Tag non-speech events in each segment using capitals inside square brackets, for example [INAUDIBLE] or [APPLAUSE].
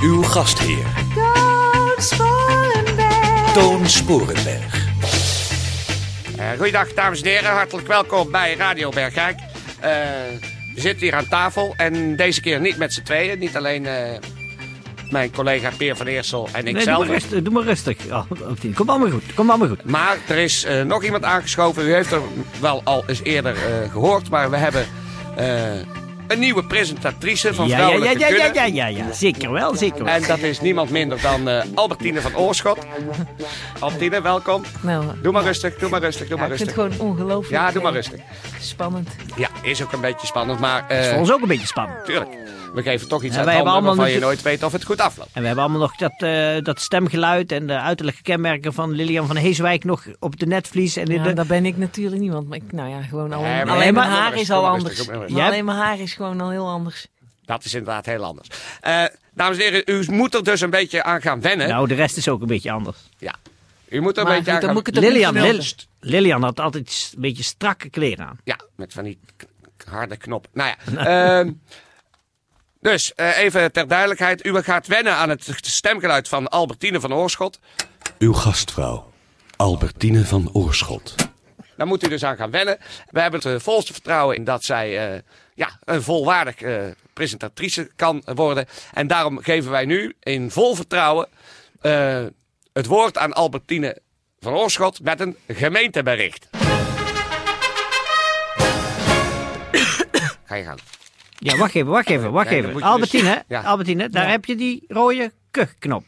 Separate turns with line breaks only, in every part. Uw gastheer
Toon Sporenberg.
Toon Sporenberg.
Eh, goeiedag, dames en heren. Hartelijk welkom bij Radio Bergijk. Eh, we zitten hier aan tafel en deze keer niet met z'n tweeën. Niet alleen eh, mijn collega Peer van Eersel en
Nee, doe
ikzelf.
maar rustig. Doe maar rustig. Ja, Antien, kom allemaal goed. Kom allemaal goed.
maar er is eh, nog iemand aangeschoven. U heeft er wel al eens eerder eh, gehoord, maar we hebben eh, een nieuwe presentatrice van
Ja, ja, ja,
Vrouwelijke
ja, ja,
Kudde.
ja, ja, ja. Zeker wel, zeker wel.
En dat is niemand minder dan eh, Albertine van Oorschot. Albertine, welkom.
Nou,
Doe maar rustig, doe maar rustig, doe
ja,
maar
ik vind het
rustig.
gewoon ongelooflijk.
Ja, doe maar
eh,
rustig.
Spannend.
Ja, is ook een beetje spannend, maar... eh,
Voor ons ook een beetje spannend.
Tuurlijk.
Oh.
We geven toch iets
Ja,
aan
wij
handen
hebben
waarvan
allemaal
je
natuurlijk-
nooit weet of het goed afloopt.
En we hebben allemaal nog dat, eh, dat stemgeluid en de uiterlijke kenmerken van Lilian van Heeswijk nog op de netvlies. En in
Ja,
de-
daar ben ik natuurlijk niemand. Maar ik, nou ja, gewoon alleen,
maar-
alleen mijn
Kom
maar
haar
eens,
is
kom
al
maar eens,
anders.
kom maar eens.
Ja?
Alleen mijn haar is gewoon al heel anders.
Dat is inderdaad heel anders. Eh, dames en heren, u moet er dus een beetje aan gaan wennen.
Nou, de rest is ook een beetje anders.
Ja. U moet er een
Maar
beetje
goed,
aan
dan
gaan...
moet ik het ook
Lilian,
niet
Lil-
vermelden.
Lilian had altijd s- een beetje strakke kleren aan.
Ja, met van die k- k- harde knop. Nou
[LAUGHS]
ja. ehm, dus, eh, even ter duidelijkheid. U gaat wennen aan het stemgeluid van Albertine van Oorschot.
Uw gastvrouw Albertine van Oorschot.
Daar moet u dus aan gaan wennen. We hebben het eh, volste vertrouwen in dat zij eh, ja, een volwaardig eh, presentatrice kan worden. En daarom geven wij nu in vol vertrouwen eh, het woord aan Albertine van Oorschot met een gemeentebericht. [COUGHS] Ga je gaan.
Ja, wacht even, wacht even,
[LAUGHS]
wacht
Ja, dan moet je
even.
dus-
Albertine,
[LAUGHS] Ja.
Albertine, daar heb je die rode kuchknop.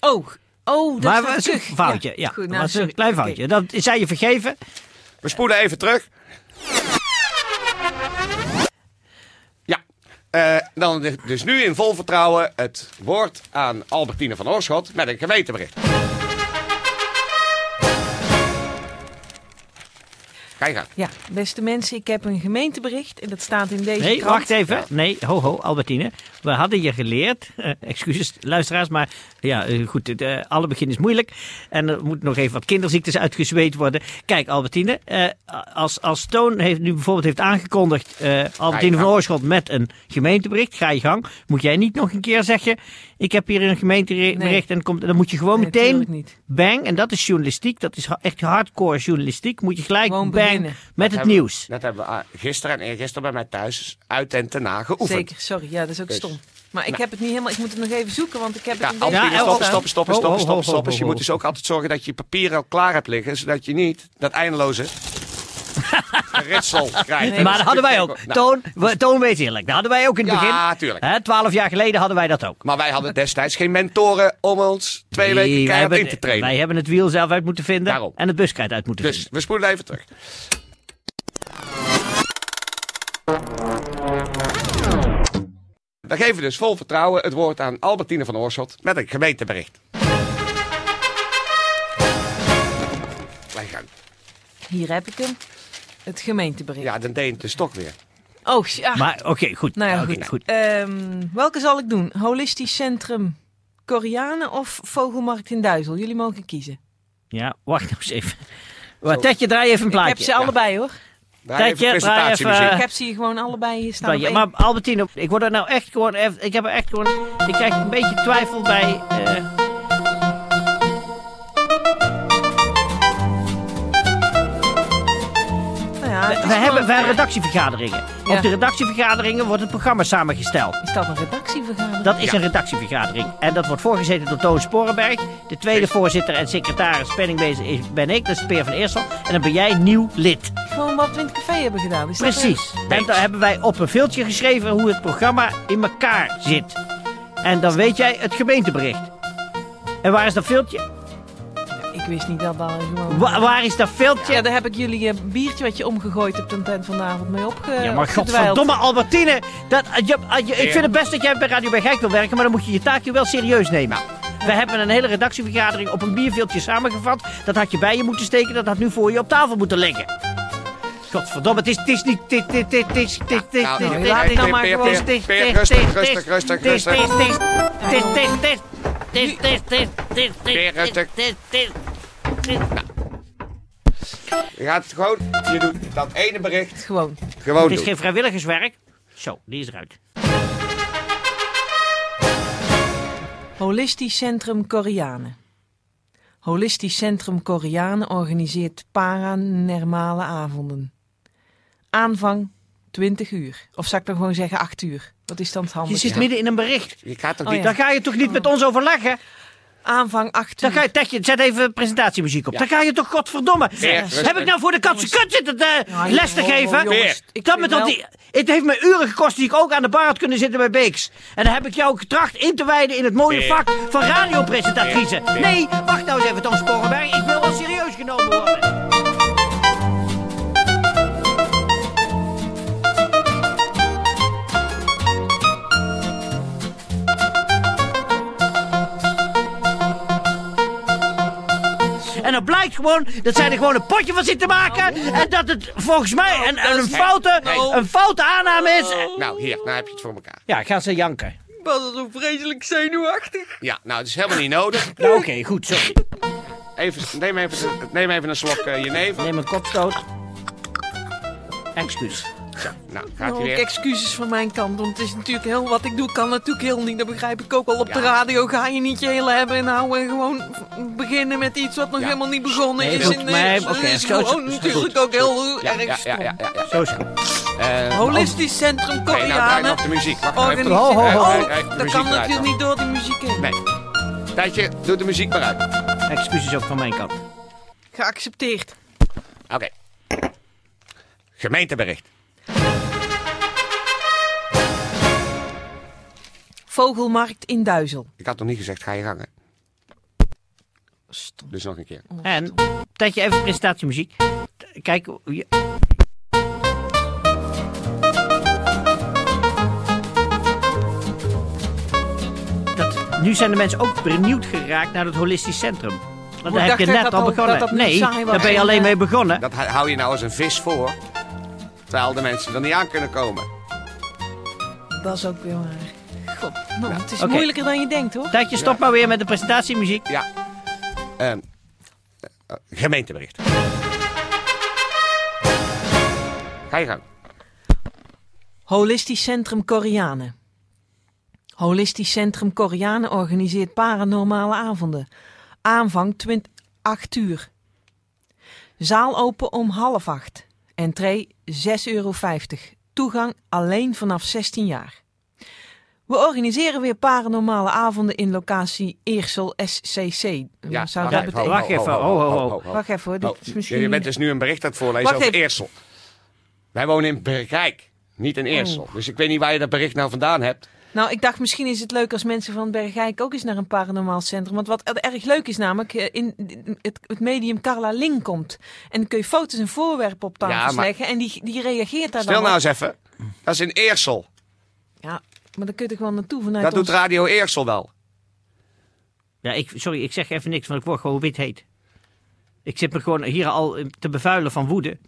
Oh, oh, dat
Maar was
staat
een
terug.
foutje, ja.
goed, nou,
maar het is
sorry.
een klein
Oké.
foutje. Dat zij je vergeven.
We spoelen even terug. Ja, eh, dan de- dus nu in vol vertrouwen het woord aan Albertine van Oorschot met een gemeentebericht. Ga je gang.
Ja, beste mensen, ik heb een gemeentebericht. En dat staat in deze
Nee,
krant.
wacht even. Nee, ho, ho, Albertine. We hadden je geleerd, eh, excuses luisteraars, maar ja, eh, goed, het, eh, alle begin is moeilijk. En er moet nog even wat kinderziektes uitgezweet worden. Kijk, Albertine, eh, als, als Toon heeft, nu bijvoorbeeld heeft aangekondigd, eh, Albertine van
gang.
Oorschot met een gemeentebericht, ga je gang. Moet jij niet nog een keer zeggen, ik heb hier een gemeentebericht
Nee.
en komt, dan moet je gewoon
Nee,
meteen
tuurlijk niet.
bang. En dat is journalistiek, dat is ha- echt hardcore journalistiek. Moet je gelijk
Gewoon
bang
beginnen.
met
Dat
het
hebben-
nieuws.
Dat hebben we ah, gisteren en eergisteren bij mij thuis uit en ten na geoefend.
Zeker, sorry. Ja, dat is ook
Dus.
stom. Maar ik heb het niet helemaal... Ik moet het nog even zoeken, want ik heb
Ja,
het in deze
Albertine,
Ja,
krant
stoppen,
staan.
stoppen, stoppen,
Ho, ho,
stoppen,
ho,
stoppen, stoppen.
ho,
Dus je
ho,
moet dus ook altijd zorgen dat je papier al klaar hebt liggen, zodat je niet dat
[LAUGHS]
eindeloze ritsel krijgt.
Nee,
maar dat hadden wij ook.
Nou,
Toon, we, Toon weet eerlijk. Dat hadden wij ook in het
Ja,
begin.
tuurlijk.
Hè, Twaalf jaar geleden hadden wij dat ook.
Maar wij hadden destijds geen mentoren om ons twee
Nee,
weken
wij
keihard
hebben-
in te trainen.
Wij hebben het wiel zelf uit moeten vinden.
Daarom.
En het buskruid uit moeten
Dus
vinden.
we spoelen even terug. Dan geven we dus vol vertrouwen het woord aan Albertine van Oorschot met een gemeentebericht. Wij gaan.
Hier heb ik hem. Het gemeentebericht.
Ja, dan deed je het dus toch weer.
Oh, ja.
Maar oké, goed.
Nou ja,
Oké,
goed. Ehm, welke zal ik doen? Holistisch Centrum Koreanen of Vogelmarkt in Duizel? Jullie mogen kiezen.
Ja, wacht nog eens even. Wat, Tetje, draai even een plaatje.
Ik heb ze allebei
[LAUGHS]
hoor.
Draai
Tijdje,
even presentatiemuziek.
draai
Ik heb ze hier gewoon allebei hier staan.
Maar,
op één.
maar Albertine, ik word er nou echt gewoon... even- Ik heb er echt gewoon... Ik krijg een beetje twijfel bij... eh,
Nou ja, het is
we, hebben,
gewoon-
we hebben redactievergaderingen.
Ja.
Op de redactievergaderingen wordt het programma samengesteld.
Is dat een redactievergadering?
Dat is
Ja.
een redactievergadering. En dat wordt voorgezeten door Toon Sporenberg. De tweede voorzitter en secretaris penningwezen is, ben ik, dat is Peer van Eersel. En dan ben jij nieuw lid.
Gewoon wat we in het café hebben gedaan. Is dat
Precies. En dan hebben wij op een viltje geschreven hoe het programma in elkaar zit. En dan weet jij het gemeentebericht. En waar is dat viltje?
een- Ik wist niet dat daar gewoon...
Wa- waar is dat filmpje?
Ja, daar heb ik jullie een biertje wat je omgegooid hebt op de tent vanavond mee opge...
Ja, maar
opgedwijld.
godverdomme Albertine. Dat, eh, je, eh, je- ik
Ja.
vind het best dat jij bij Radio bij Gijk wil werken, maar dan moet je je taakje wel serieus nemen. We hebben een hele redactievergadering op een bierveeltje samengevat. Dat had je bij je moeten steken, dat had nu voor je op tafel moeten liggen. Godverdomme, het is, het is niet... Dit, dit, dit, dit, dit, dit, dit,
nou,
dit,
nou,
dit,
laat
dit,
ik nou
dit,
maar
dit,
gewoon-
dit, dit,
Peer,
dit,
rustig,
dit,
rustig,
dit,
rustig,
dit,
rustig.
dit, dit, dit, dit, dit, dit, dit, dit, dit, dit,
Peer, rustig.
dit, dit, dit.
Je gaat het gewoon, eh, je doet dat ene bericht
Gewoon.
gewoon
Het is
doen.
geen vrijwilligerswerk. Zo, die is eruit.
Holistisch Centrum Koreanen. Holistisch Centrum Koreanen organiseert paranormale avonden. Aanvang 20 uur. Of zou ik dan gewoon zeggen 8 uur? Dat is dan het
Je
handigste.
zit midden in een bericht.
Je gaat toch
Oh,
niet...
ja.
Daar ga je toch niet met ons over lachen?
Aanvang 8 uur.
Dan ga je, Tetje, zet even presentatiemuziek op.
Ja.
Dan ga je toch, godverdomme.
rustig.
Heb ik nou voor de katse kut zitten eh,
Ja, joh,
les te geven?
jongens,
Peer.
ik
dat
vind
met dat
wel-
die, het heeft me uren gekost die ik ook aan de bar had kunnen zitten bij Beeks. En dan heb ik jou getracht in te wijden in het mooie
Peer.
vak van radiopresentatrice.
Peer. Peer.
Nee, wacht nou eens even, Tom Sporenberg. Ik wil wel serieus genomen worden. En dan blijkt gewoon dat zij er gewoon een potje van zit te maken. En dat het volgens
Nou,
mij een, een, foute,
Nee.
een foute aanname is.
Nou, hier, nou heb je het voor elkaar.
Ja, gaan ze janken.
Ik was zo vreselijk zenuwachtig.
Ja, nou, het is helemaal niet nodig.
Nou, Oké, goed zo.
Even, neem, even, neem even een slok eh, jenever.
Neem een kopstoot. Excuus.
Nou, gaat hij
Ook
weer.
excuses van mijn kant, want het is natuurlijk heel wat ik doe. Kan natuurlijk heel niet, dat begrijp ik ook al. Op
Ja.
de radio ga je niet je hele hebben en houden. En gewoon beginnen met iets wat nog
Ja.
helemaal niet begonnen
Nee,
is.
goed,
en,
maar-
is-
oké,
is
zo- zo-
gewoon
goed,
natuurlijk
goed,
ook heel
Ja,
erg
ja, ja,
stom.
ja, ja, ja.
Zo zo.
Eh,
Holistisch Centrum
Oké, nou draai
Koreanen.
nog de muziek. Wacht nou even.
Organiseer.
Ho, ho, ho.
Oh, Oh,
Hey, hey, de
dat
muziek
kan
draait
natuurlijk
nog.
niet door de muziek heen.
Nee. Tijdje, doe de muziek maar uit.
Excuses ook van mijn kant.
Geaccepteerd.
Oké. Gemeentebericht.
Vogelmarkt in Duizel.
Ik had nog niet gezegd, ga je gang. hè.
Stom.
Dus nog een keer.
En dat je even presentatiemuziek. T- Kijk, hoe je- dat, nu zijn de mensen ook benieuwd geraakt naar het holistisch centrum. Want daar heb
dacht
je net
ik dat
al
ook-
begonnen.
dat dat niet
nee,
saai was.
daar ben je
En,
alleen
eh,
mee begonnen.
Dat hou- hou je nou als een vis voor. Terwijl de mensen er niet aan kunnen komen.
Dat is ook weer waar. God, man, het is
Oké.
moeilijker dan je denkt, hoor.
Dat je stop maar weer met de presentatiemuziek.
Ja. Ehm, eh, eh, gemeentebericht. Ga je gang.
Holistisch Centrum Koreanen. Holistisch Centrum Koreanen organiseert paranormale avonden. Aanvang 20 8 uur. Zaal open om half acht. Entree 6,50 euro. Toegang alleen vanaf 16 jaar. We organiseren weer paranormale avonden in locatie Eersel SCC.
Ja,
Zou
wacht
dat
even,
betekenen? Oh,
Wacht even, ho, ho, ho.
Wacht even hoor, dit
Oh,
is misschien...
Je bent dus nu een bericht aan het voorlezen
Wacht
over
even.
Eersel. Wij wonen in Berkijk, niet
Oh.
in Eersel. Dus ik weet niet waar je dat bericht nou vandaan hebt.
Nou, ik dacht misschien is het leuk als mensen van Bergijk ook eens naar een paranormaal centrum. Want wat erg leuk is namelijk, eh, in het, het medium Carla Ling komt. En dan kun je foto's en voorwerpen op tafels
Ja, maar-
leggen en die, die reageert daar
Stel
dan
nou
op.
eens even, dat is in Eersel.
Ja, maar dan kun je er gewoon naartoe vanuit
Dat
ons-
doet Radio Eersel wel.
Ja, ik, sorry, ik zeg even niks, want ik word gewoon wit heet. Ik zit me gewoon hier al eh, te bevuilen van woede.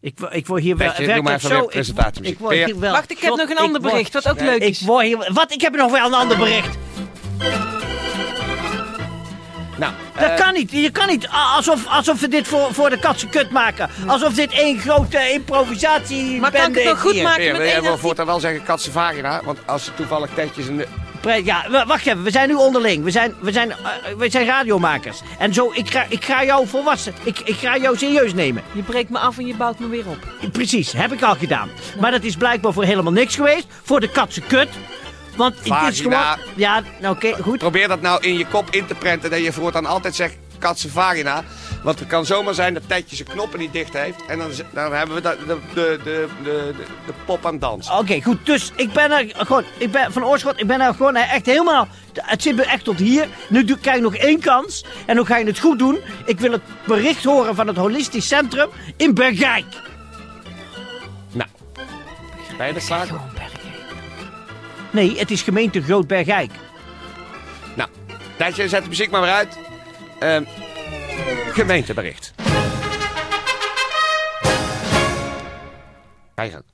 Ik, wo- ik word hier wel...
Petje, doe
werkelijk
maar even
zo-
weer
ik-
presentatiemuziek.
ik word hier
Peer.
wel-
Wacht, ik heb
Slot,
nog een ander
ik word- Eh,
bericht, wat ook leuk
Ik
is.
word hier... Wat? Ik heb nog wel een ander bericht.
Nou,
Dat
eh,
kan niet. Je kan niet. a- Alsof, alsof we dit voor, voor de katse kut maken. Alsof dit één grote improvisatie
Maar kan ik het nog goed maken?
Peer,
met
wil jij
één
wel
artikel-
voortaan wel zeggen katse vagina? Want als ze toevallig tetjes in de...
Pre- Ja, wa- wacht even. We zijn nu onderling. We zijn, we zijn, eh, we zijn radiomakers. En zo, ik ga, ik ga jou volwassen. Ik, ik ga jou serieus nemen.
Je breekt me af en je bouwt me weer op.
Precies, heb ik al gedaan. Maar dat is blijkbaar voor helemaal niks geweest. Voor de katse kut. Want het is
Vagina.
gewoon... Ja, nou, oké, goed.
Probeer dat nou in je kop in te prenten dat je voortaan altijd zegt katse vagina. Want het kan zomaar zijn dat Tedje zijn knoppen niet dicht heeft. En dan, z- dan hebben we dat- de, de, de, de, de, de pop aan het dansen.
Oké, goed. Dus ik ben er gewoon, ik ben van oorschot, ik ben er gewoon eh, echt helemaal. Het zit me echt tot hier. Nu doe, krijg ik nog één kans. En dan ga je het goed doen. Ik wil het bericht horen van het Holistisch Centrum in Bergijk.
Nou, ben je er klaar voor?
Gewoon Bergijk.
Nee, het is gemeente Groot Bergijk.
Nou, Tedje, zet de muziek maar weer uit. Ehm, gemeentebericht. Ga je gang.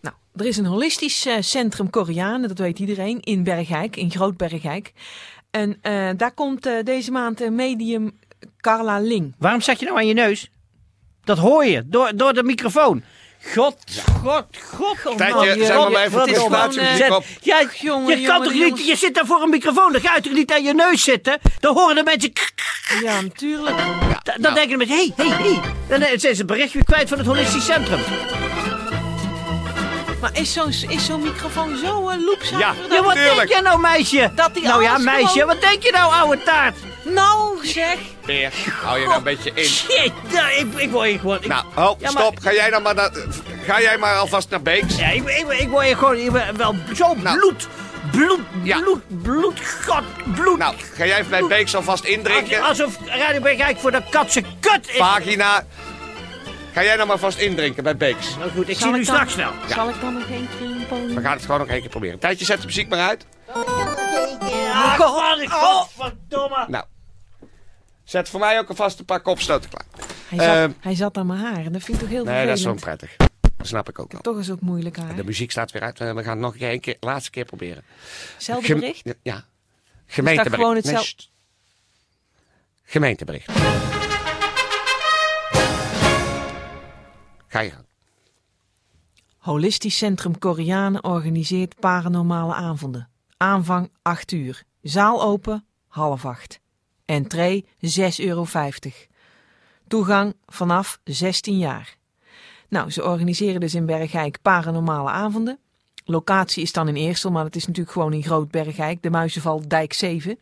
Nou, er is een holistisch eh, centrum Koreanen, dat weet iedereen, in Bergijk, in Groot Bergijk. En eh, daar komt eh, deze maand eh, medium Carla Ling.
Waarom zat je nou aan je neus? Dat hoor je door, door de microfoon. God, god, god. god
Tijdje, zeg maar bij voor
wat
de
is
plaats
gewoon,
muziek
eh,
op.
Ja,
Jongen,
je kan
jongen,
toch niet,
jongens.
je zit daar voor een microfoon, dan ga je toch niet aan je neus zitten? Dan horen de mensen, krik,
Ja, natuurlijk.
da- dan denken de mensen, hé, hé, hé. Dan eh, zijn ze het bericht weer kwijt van het holistisch centrum.
Maar is zo'n is zo'n microfoon zo uh,
Ja.
loepzuiver?
Ja, wat
tuurlijk.
denk jij nou, meisje?
Dat die
nou ja,
alles
meisje,
gewoon-
wat denk je nou, ouwe taart?
Nou zeg,
Peer, hou je nou een beetje in.
Shit, nou, ik, ik word hier gewoon... Ik,
Nou, ho,
Ja, maar-
stop. Ga jij dan maar naar, ga jij maar alvast naar Beeks.
Ja, ik, ik, ik word hier gewoon ik ben wel zo
Nou.
bloed, bloed,
Ja.
bloed, bloed, god, bloed.
Nou, ga jij even bij Beeks alvast
Als-
indrinken.
Alsof Radio Bergijk voor de katse kut is.
Pagina. Ga jij nou maar vast indrinken bij Beeks.
Nou goed, ik zie
Zal ik
nu
dan-
straks wel.
zal ik dan nog één keer een poging
We gaan het gewoon nog één keer proberen. Tijdje, zet de muziek maar uit.
Ah, god, godverdomme.
Nou. Zet voor mij ook alvast een paar kopstoten klaar.
Hij zat,
Ehm.
hij zat aan mijn haar en dat vind ik toch heel
Nee, dat
vervelend.
is zo prettig. Dat snap ik ook wel.
Toch is ook moeilijk haar.
De muziek staat weer uit. We gaan het nog een keer, een keer- laatste keer proberen.
Zelfde
Gem-
bericht?
Ja. Gemeentebericht.
gewoon
Nee,
hetzelfde-
sst. Gemeentebericht. Ga je gang.
Holistisch Centrum Koreanen organiseert paranormale avonden. Aanvang 8 uur. Zaal open half 8. Entree 6,50 euro. Toegang vanaf 16 jaar. Nou, ze organiseren dus in Bergijk paranormale avonden. Locatie is dan in Eersel, maar het is natuurlijk gewoon in Groot Bergijk, de Muizenval Dijk 7.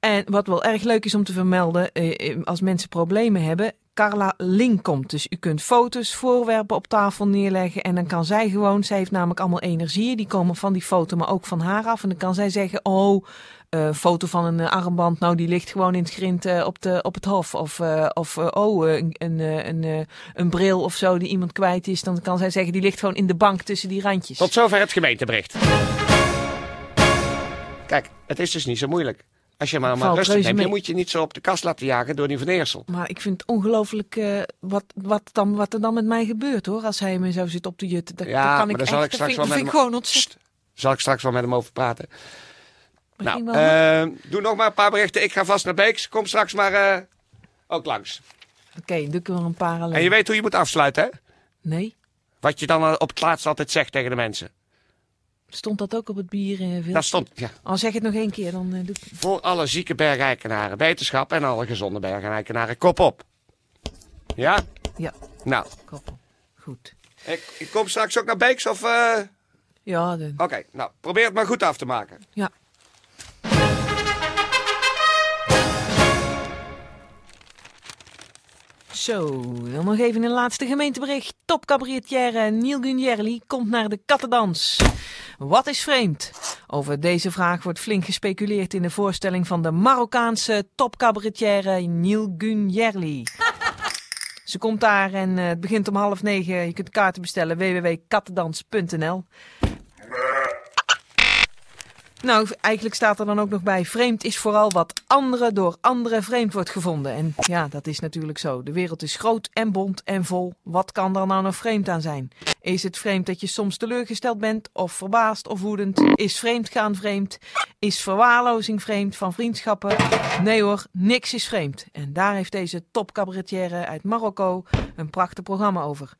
En wat wel erg leuk is om te vermelden, eh, eh, als mensen problemen hebben, Carla Link komt. Dus u kunt foto's, voorwerpen op tafel neerleggen en dan kan zij gewoon, zij heeft namelijk allemaal energieën, die komen van die foto, maar ook van haar af. En dan kan zij zeggen, oh, eh, foto van een eh, armband, nou die ligt gewoon in het grind eh, op, de, op het hof. Of, eh, of eh, oh, eh, een, een, eh, een, eh, een bril of zo die iemand kwijt is, dan kan zij zeggen, die ligt gewoon in de bank tussen die randjes.
Tot zover het gemeentebericht. Kijk, het is dus niet zo moeilijk. Als je maar, maar
Valt
rustig
reuze
neemt, je
mee.
moet je niet zo op de kast laten jagen door die Van Eersel.
Maar ik vind het ongelooflijk eh, wat, wat, dan, wat er dan met mij gebeurt hoor. Als hij me zo zit op te jutten. Dat,
Ja,
dat kan
maar
ik
daar
echt,
zal ik
dat
straks wel
vind,
met
dat vind ik
hem-
gewoon ontzettend.
Zal ik straks wel met hem over praten. Nou,
ging wel
eh, doe nog maar een paar berichten. Ik ga vast naar Beeks. Kom straks maar eh, ook langs.
Oké, doe ik er een paar alleen.
eh, En je weet hoe je moet afsluiten, hè?
Nee,
Wat je dan eh, op het laatst altijd zegt tegen de mensen.
stond dat ook op het bier? eh Wil?
Dat stond. Ja.
Al zeg het nog één keer, dan eh, doe ik...
Voor alle zieke bergeikenaren, wetenschap en alle gezonde bergeikenaren, kop op. Ja?
Ja,
Nou,
koppel. Goed.
ik, ik kom straks ook naar Beeks of... eh,
Ja, de-
Oké, nou, probeer het maar goed af te maken.
ja. Zo, dan nog even een laatste gemeentebericht. Topcabaretière Neil Gunjerli komt naar de kattendans. Wat is vreemd? Over deze vraag wordt flink gespeculeerd in de voorstelling van de Marokkaanse topcabaretière Neil Gunjerli. Ze komt daar en eh, het begint om half negen. Je kunt kaarten bestellen www.kattendans.nl. Nou, eigenlijk staat er dan ook nog bij: vreemd is vooral wat anderen door anderen vreemd wordt gevonden. En ja, dat is natuurlijk zo. De wereld is groot en bont en vol. Wat kan daar nou nog vreemd aan zijn? Is het vreemd dat je soms teleurgesteld bent, of verbaasd of woedend? Is vreemdgaan vreemd? Is verwaarlozing vreemd van vriendschappen? Nee hoor, niks is vreemd. En daar heeft deze topcabaretière uit Marokko een prachtig programma over.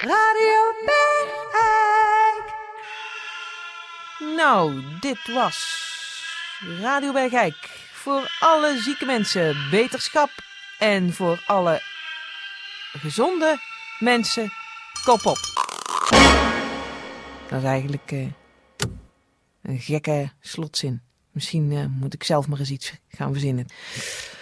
Radio Bergijk.
Nou, dit was Radio Bergijk. Voor alle zieke mensen beterschap. En voor alle gezonde mensen kop op. Dat is eigenlijk eh, een gekke slotzin. Misschien eh, moet ik zelf maar eens iets gaan verzinnen.